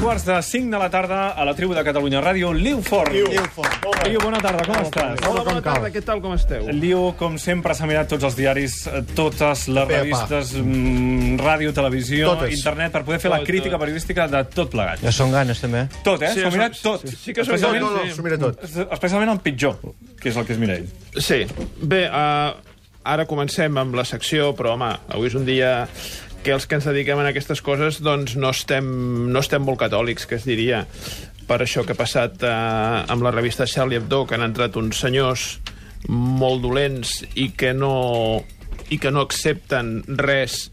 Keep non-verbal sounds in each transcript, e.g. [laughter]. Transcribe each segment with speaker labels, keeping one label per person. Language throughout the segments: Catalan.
Speaker 1: quarts de 5 de la tarda a la tribu de Catalunya Ràdio, Liu Forn. Liu, Liu bona tarda, com estàs?
Speaker 2: Hola, bona tarda, què tal, com esteu?
Speaker 1: Liu, com sempre, s'ha mirat tots els diaris, eh, totes les
Speaker 3: pa.
Speaker 1: revistes, mm, ràdio, televisió,
Speaker 3: Totes.
Speaker 1: internet, per poder fer la
Speaker 2: Tot,
Speaker 1: crítica
Speaker 2: tot.
Speaker 1: periodística de tot plegat.
Speaker 4: Ja són ganes, també.
Speaker 1: Tot, eh?
Speaker 2: Sí,
Speaker 1: S'ho ha
Speaker 2: som-
Speaker 1: mirat tot.
Speaker 2: sí, sí que som-
Speaker 3: No,
Speaker 1: especialment,
Speaker 3: no, no, s'ho mira tot.
Speaker 1: especialment el pitjor, que és el que es mira ell.
Speaker 2: Sí, bé, uh, ara comencem amb la secció, però, home, avui és un dia que els que ens dediquem a aquestes coses doncs no estem, no estem molt catòlics, que es diria, per això que ha passat uh, amb la revista Charlie Hebdo, que han entrat uns senyors molt dolents i que no, i que no accepten res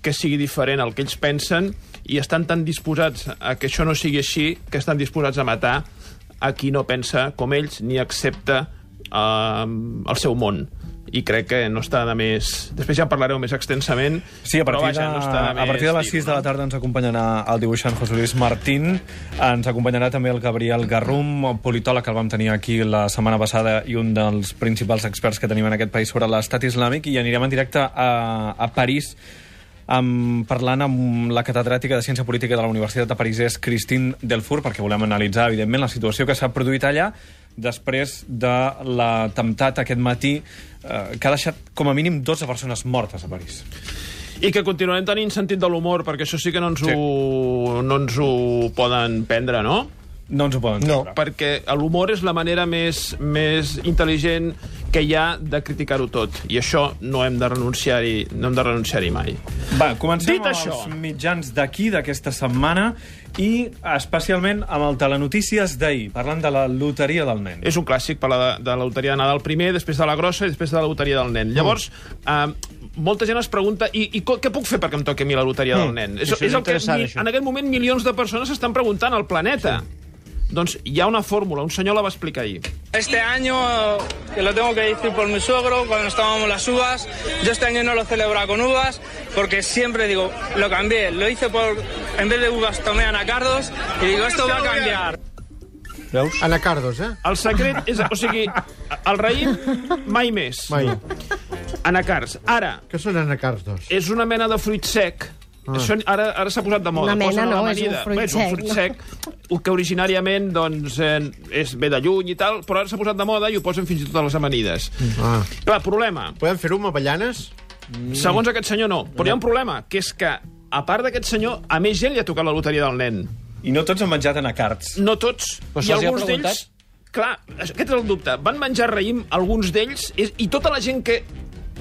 Speaker 2: que sigui diferent al que ells pensen i estan tan disposats a que això no sigui així que estan disposats a matar a qui no pensa com ells ni accepta eh, el seu món i crec que no està de més... Després ja en parlareu més extensament,
Speaker 1: Sí, a
Speaker 2: però
Speaker 1: partir, de,
Speaker 2: vaja, no està de
Speaker 1: a
Speaker 2: més
Speaker 1: partir de les
Speaker 2: dir-ho,
Speaker 1: 6 de la
Speaker 2: no?
Speaker 1: tarda ens acompanyarà el dibuixant José Luis Martín, ens acompanyarà també el Gabriel Garrum, un politòleg que el vam tenir aquí la setmana passada i un dels principals experts que tenim en aquest país sobre l'estat islàmic, i anirem en directe a, a París amb, parlant amb la catedràtica de Ciència Política de la Universitat de París, és Christine Delfour, perquè volem analitzar, evidentment, la situació que s'ha produït allà després de l'atemptat aquest matí eh, que ha deixat com a mínim 12 persones mortes a París.
Speaker 2: I que continuarem tenint sentit de l'humor, perquè això sí que no ens,
Speaker 1: Sí.
Speaker 2: ho, no ens ho poden prendre, no?
Speaker 1: No ens ho poden
Speaker 4: No.
Speaker 1: treure.
Speaker 2: Perquè l'humor és la manera més, més intel·ligent que hi ha de criticar-ho tot. I això no hem de renunciar-hi no hem de renunciar mai.
Speaker 1: Va, comencem
Speaker 2: Dit
Speaker 1: amb
Speaker 2: això.
Speaker 1: els mitjans d'aquí, d'aquesta setmana, i especialment amb el Telenotícies d'ahir, parlant de la loteria del nen.
Speaker 2: És un clàssic per la de, de la loteria de Nadal primer, després de la grossa i després de la loteria del nen. Llavors,
Speaker 4: Mm.
Speaker 2: eh, molta gent es pregunta i, i co- què puc fer perquè em toqui a mi la loteria del nen?
Speaker 4: Això és
Speaker 2: el que
Speaker 4: Mm. interessant,
Speaker 2: mi-
Speaker 4: això.
Speaker 2: en aquest moment milions de persones s'estan preguntant al planeta. Doncs hi ha una fórmula, un senyor la va explicar ahir.
Speaker 5: Este año, que lo tengo que decir por mi suegro, cuando estábamos las uvas, yo este año no lo celebraba con uvas, porque siempre digo, lo cambié, lo hice por, en vez de uvas tomé anacardos, y digo, esto va a cambiar.
Speaker 4: Veus?
Speaker 3: Anacardos, eh?
Speaker 2: El secret és... O sigui, el raïm, mai més.
Speaker 3: Mai.
Speaker 2: Anacards. Ara,
Speaker 3: Què són anacardos?
Speaker 2: és una mena de fruit sec. Ah. Això ara ara s'ha posat de moda.
Speaker 6: Una
Speaker 2: Posen
Speaker 6: mena,
Speaker 2: a
Speaker 6: no,
Speaker 2: l'amanida.
Speaker 6: és un fruit
Speaker 2: Bé, és un
Speaker 6: sec,
Speaker 2: fruit
Speaker 6: no?
Speaker 2: sec, no? que originàriament doncs, eh, és ve de lluny i tal, però ara s'ha posat de moda i ho posen fins i tot a les amanides.
Speaker 3: Ah.
Speaker 2: Clar, problema.
Speaker 3: Podem fer-ho amb avellanes?
Speaker 4: Mm.
Speaker 2: Segons aquest senyor, no. Però hi ha un problema, que és que, a part d'aquest senyor, a més gent li ha tocat la loteria del nen.
Speaker 1: I no tots han menjat anacards.
Speaker 2: No tots.
Speaker 4: Però
Speaker 2: I
Speaker 4: se'ls hi ha
Speaker 2: alguns
Speaker 4: preguntat?
Speaker 2: d'ells... Clar, aquest és el dubte. Van menjar raïm alguns d'ells i, i tota la gent que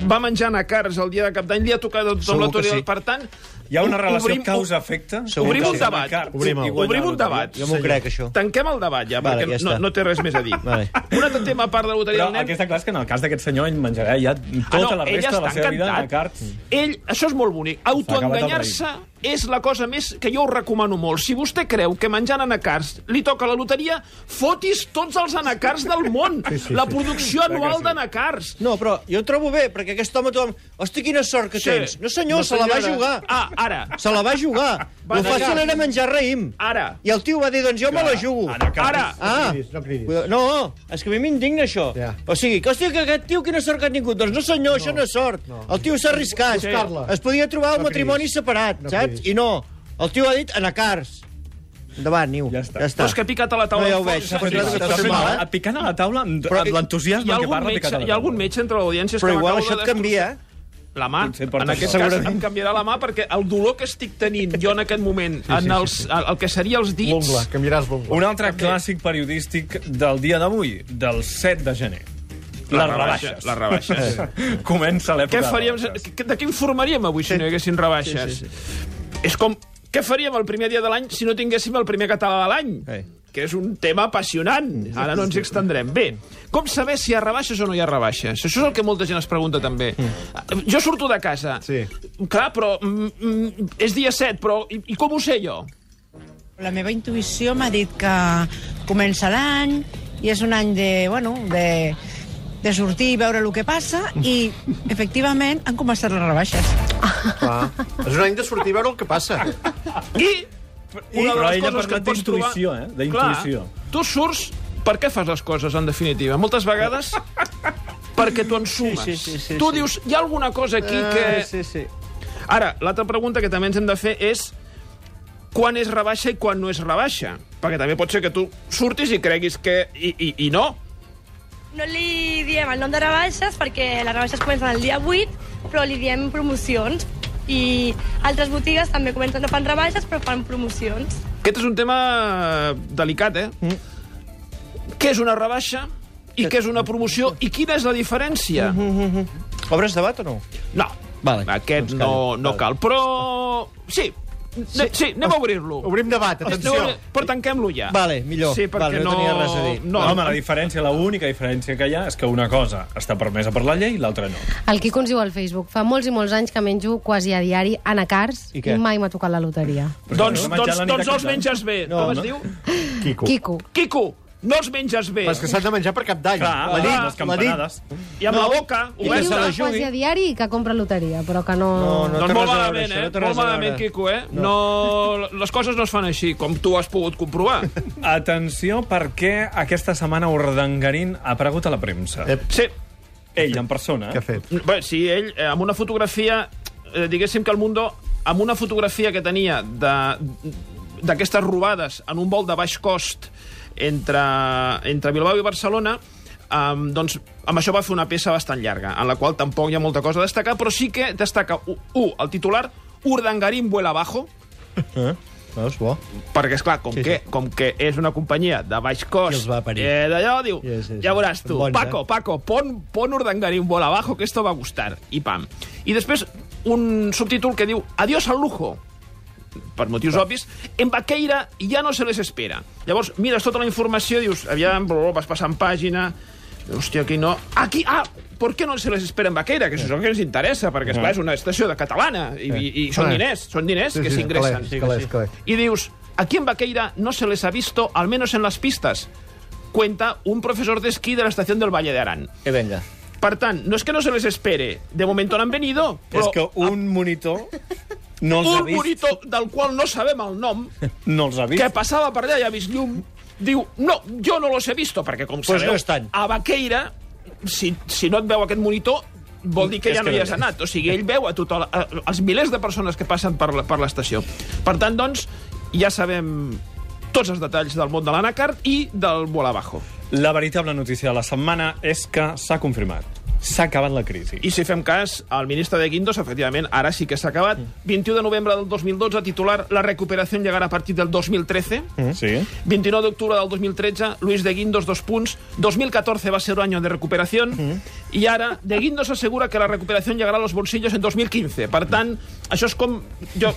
Speaker 2: va menjar anacards el dia de cap d'any li ha tocat tothom
Speaker 4: Segur
Speaker 2: la
Speaker 4: que
Speaker 2: loteria.
Speaker 4: sí.
Speaker 2: Per tant,
Speaker 1: Hi ha una relació
Speaker 2: obrim-
Speaker 1: causa-efecte?
Speaker 4: Segur
Speaker 2: obrim
Speaker 4: que
Speaker 2: un
Speaker 4: sí.
Speaker 2: debat.
Speaker 1: Anacards
Speaker 3: Obrim
Speaker 1: i
Speaker 3: el-
Speaker 1: guanyar
Speaker 2: obrim
Speaker 1: la
Speaker 2: un
Speaker 1: loteria.
Speaker 2: debat.
Speaker 4: Jo m'ho crec, això.
Speaker 2: Tanquem el debat ja,
Speaker 4: Vale,
Speaker 2: perquè
Speaker 4: ja
Speaker 2: no,
Speaker 4: està.
Speaker 2: no té res més a dir.
Speaker 4: Vale.
Speaker 2: Un altre tema a part de la loteria
Speaker 1: Però
Speaker 2: del nen...
Speaker 1: el que està clar és que en el cas d'aquest senyor ell menjarà ja
Speaker 2: Ah,
Speaker 1: tota la
Speaker 2: ell
Speaker 1: resta de la
Speaker 2: està
Speaker 1: seva vida
Speaker 2: encantat.
Speaker 1: anacards.
Speaker 2: Ell, això és molt bonic.
Speaker 1: acabat el
Speaker 2: Autoenganyar-se és la cosa més que jo us recomano molt. Si vostè creu que menjant anacards li toca la loteria, fotis tots els anacards del món. Sí, sí, la producció sí. anual d'anacards.
Speaker 4: No, però jo ho trobo bé, perquè aquest home tothom... Hosti, quina sort que
Speaker 2: Sí.
Speaker 4: tens! No, senyor,
Speaker 2: No,
Speaker 4: se la va
Speaker 2: senyora.
Speaker 4: jugar!
Speaker 2: Ah, ara.
Speaker 4: Se la va jugar!
Speaker 2: [laughs] Va,
Speaker 4: Lo fàcil
Speaker 2: anacards.
Speaker 4: era menjar raïm.
Speaker 2: Ara.
Speaker 4: I el tio va dir, doncs jo me la jugo.
Speaker 1: Anacards.
Speaker 2: Ara.
Speaker 4: Ah,
Speaker 3: cridis, no cridis.
Speaker 4: Cuida- no, és que a mi m'indigna això.
Speaker 3: Ja.
Speaker 4: O sigui, que, hòstia, que aquest tio quina sort que ha tingut. Doncs no senyor, no. això no és sort. No. El tio s'ha arriscat.
Speaker 3: Buscar-la.
Speaker 4: Es podia trobar un
Speaker 3: No
Speaker 4: matrimoni
Speaker 3: cridis.
Speaker 4: separat,
Speaker 3: No
Speaker 4: saps?
Speaker 3: cridis.
Speaker 4: I no, el tio ha dit anacards. Endavant, Niu.
Speaker 1: Ja està.
Speaker 4: Ja
Speaker 2: Però
Speaker 4: està.
Speaker 2: és que ha picat a la taula.
Speaker 4: No, ja ho
Speaker 2: de
Speaker 4: veig, s'ha
Speaker 2: fons.
Speaker 4: fet-
Speaker 2: Sí,
Speaker 4: s'ha
Speaker 2: sí,
Speaker 4: fet
Speaker 2: sí.
Speaker 4: mal, eh?
Speaker 1: Picant a la taula amb,
Speaker 4: Però-
Speaker 1: amb
Speaker 2: Hi
Speaker 1: l'entusiasme
Speaker 2: ha,
Speaker 1: que
Speaker 2: algun
Speaker 1: parla picat
Speaker 2: metge,
Speaker 1: a la
Speaker 2: hi ha algun
Speaker 1: taula.
Speaker 2: metge entre l'audiència
Speaker 4: Però
Speaker 2: que
Speaker 4: igual
Speaker 2: m'acabo
Speaker 4: això
Speaker 2: de destrossar.
Speaker 4: et canvia, eh?
Speaker 2: La mà,
Speaker 1: Potser porta
Speaker 2: en aquest
Speaker 1: sort.
Speaker 2: cas em canviarà la mà perquè el dolor que estic tenint jo en aquest moment, sí, en els, el, el que seria els dits...
Speaker 3: L'ungla, canviaràs l'ungla.
Speaker 1: Un altre clàssic periodístic del dia d'avui, del 7 de gener. Les rebaixes.
Speaker 2: Les rebaixes.
Speaker 1: [laughs] Comença l'època
Speaker 2: Què
Speaker 1: de
Speaker 2: faríem,
Speaker 1: rebaixes.
Speaker 2: de què informaríem avui si no hi haguessin rebaixes? Sí, sí, sí. És com, què faríem el primer dia de l'any si no tinguéssim el primer català de l'any?
Speaker 4: Ei.
Speaker 2: Que és un tema apassionant. Ara no ens hi extendrem. Bé, com saber si hi ha rebaixes o no hi ha rebaixes? Això és el que molta gent es pregunta, també. Jo surto de casa.
Speaker 3: Sí.
Speaker 2: Clar, però mm, mm, és dia 7, però i, i com ho sé jo?
Speaker 7: La meva intuïció m'ha dit que comença l'any i és un any de, bueno, de, de sortir i veure el que passa i, efectivament, han començat les rebaixes.
Speaker 3: Clar. És un any de sortir a veure el que passa.
Speaker 2: I una de
Speaker 1: Però
Speaker 2: les
Speaker 1: ell ha
Speaker 2: coses que
Speaker 1: parlat
Speaker 2: et pots
Speaker 1: d'intuïció,
Speaker 2: trobar...
Speaker 1: eh? D'intuïció.
Speaker 2: Clar, Tu surts per què fas les coses, en definitiva? Moltes vegades perquè tu en sumes.
Speaker 4: Sí, sí, sí, sí,
Speaker 2: tu
Speaker 4: sí.
Speaker 2: dius, hi ha alguna cosa aquí que...
Speaker 4: Sí, sí.
Speaker 2: Ara, l'altra pregunta que també ens hem de fer és quan és rebaixa i quan no és rebaixa. Perquè també pot ser que tu surtis i creguis que... I, i, i no.
Speaker 6: No li diem el nom de rebaixes perquè les rebaixes comencen el dia 8, però li diem promocions. I altres botigues també comencen, no fan rebaixes, però fan promocions.
Speaker 2: Aquest és un tema eh, delicat, eh? Mm. Què és una rebaixa i què és una promoció i quina és la diferència? Mm -hmm.
Speaker 4: Obres debat o no?
Speaker 2: No,
Speaker 4: Vale.
Speaker 2: aquest
Speaker 4: Doncs
Speaker 2: no,
Speaker 4: calla.
Speaker 2: no cal, però... Sí, sí, sí anem a obrir-lo.
Speaker 3: Obrim debat, atenció.
Speaker 2: Atenció. Però tanquem-lo ja.
Speaker 4: Vale, millor.
Speaker 2: Sí, perquè
Speaker 4: Vale, no tenia res a dir.
Speaker 1: No,
Speaker 2: No, eh?
Speaker 1: home, la diferència, la única diferència que hi ha és que una cosa està permesa per la llei i l'altra no.
Speaker 8: El Quico ens diu al Facebook, fa molts i molts anys que menjo quasi a diari anacards
Speaker 4: I
Speaker 8: i,
Speaker 4: què?
Speaker 8: i mai m'ha tocat la loteria.
Speaker 2: doncs,
Speaker 1: Però menjar
Speaker 2: doncs,
Speaker 1: la nit
Speaker 2: doncs
Speaker 1: a
Speaker 2: els
Speaker 1: Cap d'Any.
Speaker 2: menges bé. No, Com es
Speaker 1: no.
Speaker 2: diu?
Speaker 3: Quico.
Speaker 8: Quico.
Speaker 2: Quico, no els menges bé.
Speaker 3: Però és que s'han de menjar per cap d'any.
Speaker 1: Clar,
Speaker 3: La
Speaker 1: les
Speaker 3: nit, la nit.
Speaker 1: campanades.
Speaker 2: I amb la boca
Speaker 8: I diu
Speaker 2: oberta.
Speaker 8: que
Speaker 4: jugui.
Speaker 8: quasi a diari i que compra loteria, però que no...
Speaker 4: No,
Speaker 2: doncs
Speaker 4: té
Speaker 2: molt
Speaker 4: res a veure,
Speaker 2: malament,
Speaker 4: això,
Speaker 2: eh?
Speaker 4: no té
Speaker 2: molt
Speaker 4: res a veure.
Speaker 2: malament, Quico, eh? No. les coses no es fan així, com tu has pogut
Speaker 4: [laughs]
Speaker 2: comprovar.
Speaker 1: Atenció, perquè aquesta setmana Urdangarín ha aparegut a la premsa.
Speaker 3: Eh,
Speaker 2: Sí,
Speaker 1: Ell, en persona.
Speaker 3: Què ha fet?
Speaker 2: bé, sí, ell, eh, amb una fotografia... Eh, diguéssim que el Mundo, amb una fotografia que tenia de- d'aquestes robades en un vol de baix cost entre, entre Bilbao i Barcelona, Um, doncs amb això va fer una peça bastant llarga, en la qual tampoc hi ha molta cosa a destacar, però sí que destaca, u, u el titular, Urdangarín vuela abajo,
Speaker 4: Veus, bo.
Speaker 2: Perquè, és clar, com, sí, que, sí. com que és una companyia de baix
Speaker 4: Qui
Speaker 2: cost,
Speaker 4: els va parir?
Speaker 2: eh, d'allò, diu,
Speaker 4: Sí, sí, sí.
Speaker 2: ja veuràs tu,
Speaker 4: Bons, eh?
Speaker 2: Paco, Paco, pon, pon Urdangarín vol abajo, que esto va a gustar, i pam. I després un subtítol que diu Adiós al lujo, per motius obvis, en Baqueira ja no se les espera. Llavors, mires tota la informació, dius, aviam, bro, vas passant pàgina, hòstia, aquí no... Aquí, ah, ¿por qué no se les espera en Baqueira? Que això és el que ens interessa, perquè, esclar, és una estació de catalana, i, i, i són
Speaker 3: Ah.
Speaker 2: diners, són diners
Speaker 3: Sí,
Speaker 2: que
Speaker 3: sí,
Speaker 2: s'ingressen.
Speaker 3: calés, calés, calés.
Speaker 2: Y dius, aquí en Vaqueira no se les ha visto, al menos en las pistas, cuenta un profesor de esquí de la estación del Valle de Arán.
Speaker 4: Que venga.
Speaker 2: Per tant, no es que no se les espere, de momento no han venido,
Speaker 1: És
Speaker 2: però
Speaker 1: que un monitor no els ha
Speaker 2: un
Speaker 1: vist.
Speaker 2: monitor del qual no sabem el nom,
Speaker 1: No els ha [laughs] vist.
Speaker 2: que passava per allà i ha vist llum, diu, no, jo no los he visto, perquè com
Speaker 4: Pues
Speaker 2: sabeu,
Speaker 4: no estan.
Speaker 2: a Vaqueira, si, si no et veu aquest monitor, vol dir que
Speaker 1: És
Speaker 2: ja no
Speaker 1: que
Speaker 2: hi
Speaker 1: no
Speaker 2: has
Speaker 1: hi és.
Speaker 2: anat. O sigui, ell veu a tot el, a, als milers de persones que passen per la- per l'estació. Per tant, doncs, ja sabem tots els detalls del món de l'anacard i del vol abajo.
Speaker 1: La veritable notícia de la setmana és que s'ha confirmat. S'ha acabat la crisi.
Speaker 2: I si fem cas, el ministre de Guindos, efectivament, ara sí que s'ha acabat. 21 de novembre del 2012, titular La recuperació llegarà a partir del 2013.
Speaker 1: Sí.
Speaker 2: 29 de octubre del 2013, Luis de Guindos, dos punts. 2014 va a ser un año de recuperación. I ara, de Guindos assegura que la recuperación llegarà a los bolsillos en 2015. Per tant, això és com... Jo,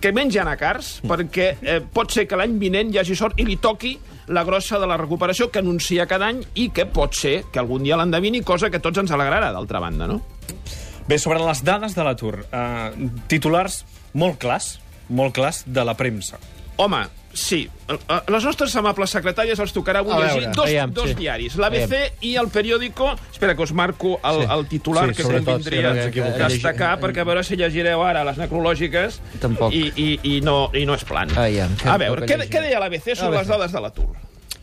Speaker 2: que menja anacars, perquè eh, pot ser que l'any vinent hi hagi sort i li toqui la grossa de la recuperació que anuncia cada any i que pot ser que algun dia l'endevini, cosa que a tots ens alegrarà, d'altra banda, no?
Speaker 1: Bé, sobre les dades de l'atur. Uh, titulars molt clars, molt clars de la premsa.
Speaker 2: Home, sí. A les nostres amables secretàries els tocarà avui
Speaker 4: A veure,
Speaker 2: llegir dos,
Speaker 4: veiem,
Speaker 2: dos
Speaker 4: sí.
Speaker 2: diaris, l'ABC i el periòdico... Espera, que us marco el,
Speaker 4: Sí.
Speaker 2: el titular,
Speaker 4: Sí,
Speaker 2: que
Speaker 4: sobretot,
Speaker 2: convindria
Speaker 4: sí, perquè ens equivoquem.
Speaker 2: destacar, perquè a veure si llegireu ara les necrològiques
Speaker 4: Tampoc.
Speaker 2: I, i, i, no, i no és plan.
Speaker 4: Aviam, que
Speaker 2: a
Speaker 4: em
Speaker 2: veure,
Speaker 4: toca
Speaker 2: què,
Speaker 4: llegir.
Speaker 2: què deia l'ABC sobre
Speaker 4: ABC.
Speaker 2: les dades de l'atur?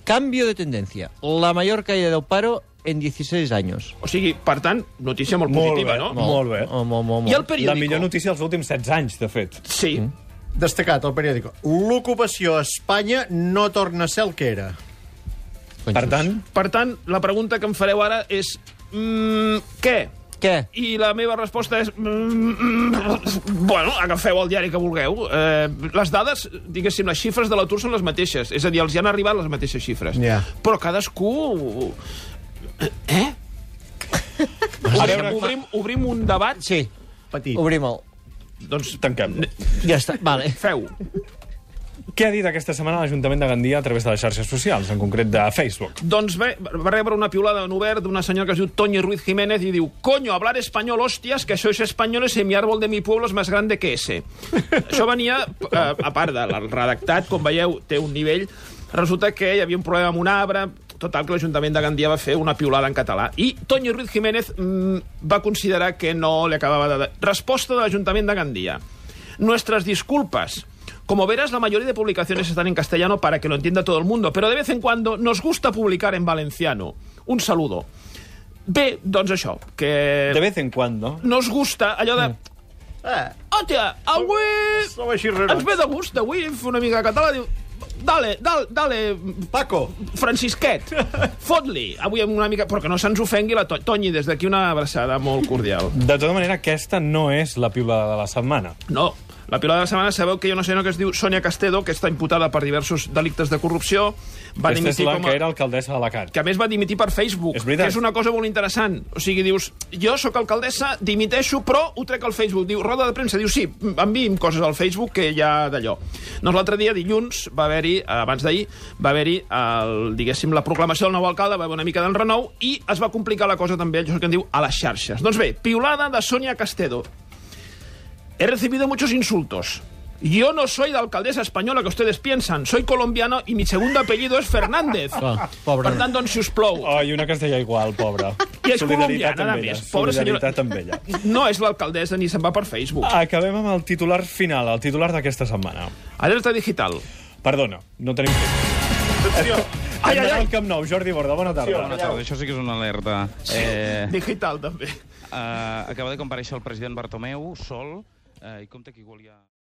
Speaker 4: Cambio de tendencia. La mayor caída del paro en 16 años.
Speaker 2: O sigui, per tant, notícia molt, positiva, no?
Speaker 1: Molt bé.
Speaker 4: Oh, mo, mo, mo.
Speaker 2: I el
Speaker 1: La
Speaker 2: periòdico?
Speaker 1: millor notícia dels últims 16 anys, de fet.
Speaker 2: Sí.
Speaker 4: Mm.
Speaker 3: Destacat al periòdic. L'ocupació a Espanya no torna a ser el que era.
Speaker 4: Conxos.
Speaker 1: Per tant,
Speaker 2: Per tant, la pregunta que em fareu ara és... Mm, què?
Speaker 4: Què?
Speaker 2: I la meva resposta és... mm, mm, Bueno, agafeu el diari que vulgueu. Eh, les dades, diguéssim, les xifres de l'atur són les mateixes. És a dir, els hi han arribat les mateixes xifres.
Speaker 3: Ja.
Speaker 2: Però cadascú... Eh? A veure, obrim, obrim un debat?
Speaker 4: Sí,
Speaker 3: Petit.
Speaker 4: obrim-el.
Speaker 2: Doncs
Speaker 1: tanquem-lo.
Speaker 4: Ja està, vale.
Speaker 2: feu.
Speaker 1: Què ha dit aquesta setmana l'Ajuntament de Gandia a través de les xarxes socials, en concret de Facebook?
Speaker 2: Doncs bé, va rebre una piulada en obert d'una senyora que es diu Toñi Ruiz Jiménez i diu «Coño, hablar español, hostias, que sois españoles y mi árbol de mi pueblo es más grande que ese». Això venia, eh, a part del redactat, com veieu, té un nivell. Resulta que hi havia un problema amb un arbre, total, que l'Ajuntament de Gandia va fer una piulada en català. I Toñi Ruiz Jiménez mm, va considerar que no li acabava de... Resposta de l'Ajuntament de Gandia. Nuestras disculpas. Como verás, la mayoría de publicaciones están en castellano para que lo entienda todo el mundo, pero de vez en cuando nos gusta publicar en valenciano. Un saludo. Bé, doncs això, que...
Speaker 1: De vez en cuando.
Speaker 2: Nos gusta allò de...
Speaker 3: Eh,
Speaker 2: Oh, Hòstia, avui...
Speaker 3: Som així rerots.
Speaker 2: Ens ve de gust, avui, fer una mica de català. Diu, dale, dale, dale,
Speaker 3: Paco,
Speaker 2: Francisquet, fot-li. Avui amb una mica... Però que no se'ns ofengui la to Tonyi, des d'aquí una abraçada molt cordial.
Speaker 1: De tota manera, aquesta no és la piula de la setmana.
Speaker 2: No, la pilota de la setmana sabeu que hi ha una senyora que es diu Sonia Castedo, que està imputada per diversos delictes de corrupció. Va
Speaker 1: aquesta és
Speaker 2: dimitir
Speaker 1: la
Speaker 2: com a...
Speaker 1: que era alcaldessa d'Alacant.
Speaker 2: que a més va dimitir per Facebook,
Speaker 1: És veritat.
Speaker 2: que és una cosa molt interessant. O sigui, dius, jo sóc alcaldessa, dimiteixo, però ho trec al Facebook. Diu, roda de premsa, diu, sí, enviïm coses al Facebook que ja d'allò. Doncs l'altre dia, dilluns, va haver-hi, eh, abans d'ahir, va haver-hi, el, diguéssim, la proclamació del nou alcalde, va haver una mica d'enrenou, i es va complicar la cosa també, això que en diu, a les xarxes. Doncs bé, piulada de Sonia Castedo. He recibido muchos insultos. Yo no soy la alcaldesa española que ustedes piensan. Soy colombiano y mi segundo apellido es Fernández.
Speaker 3: pobre.
Speaker 2: Per tant, doncs, si us plou,
Speaker 1: Oh, i una castellà igual, pobra.
Speaker 2: I és
Speaker 1: Solidaritat
Speaker 2: colombiana,
Speaker 1: amb
Speaker 2: a
Speaker 1: ella.
Speaker 2: més. Pobra
Speaker 1: Solidaritat
Speaker 2: senyora.
Speaker 1: amb ella.
Speaker 2: no és l'alcaldessa ni se'n va per Facebook.
Speaker 1: Acabem amb el titular final, el titular d'aquesta setmana.
Speaker 2: Alerta digital.
Speaker 1: Perdona, no tenim temps.
Speaker 2: Ai, ai, ai.
Speaker 1: Al Camp Nou, Jordi Borda, bona tarda.
Speaker 9: Bona tarda, això sí que és una alerta. Eh,
Speaker 2: Digital, també.
Speaker 9: eh, acaba de compareixer el president Bartomeu, sol, eh, i compte que igual hi ha...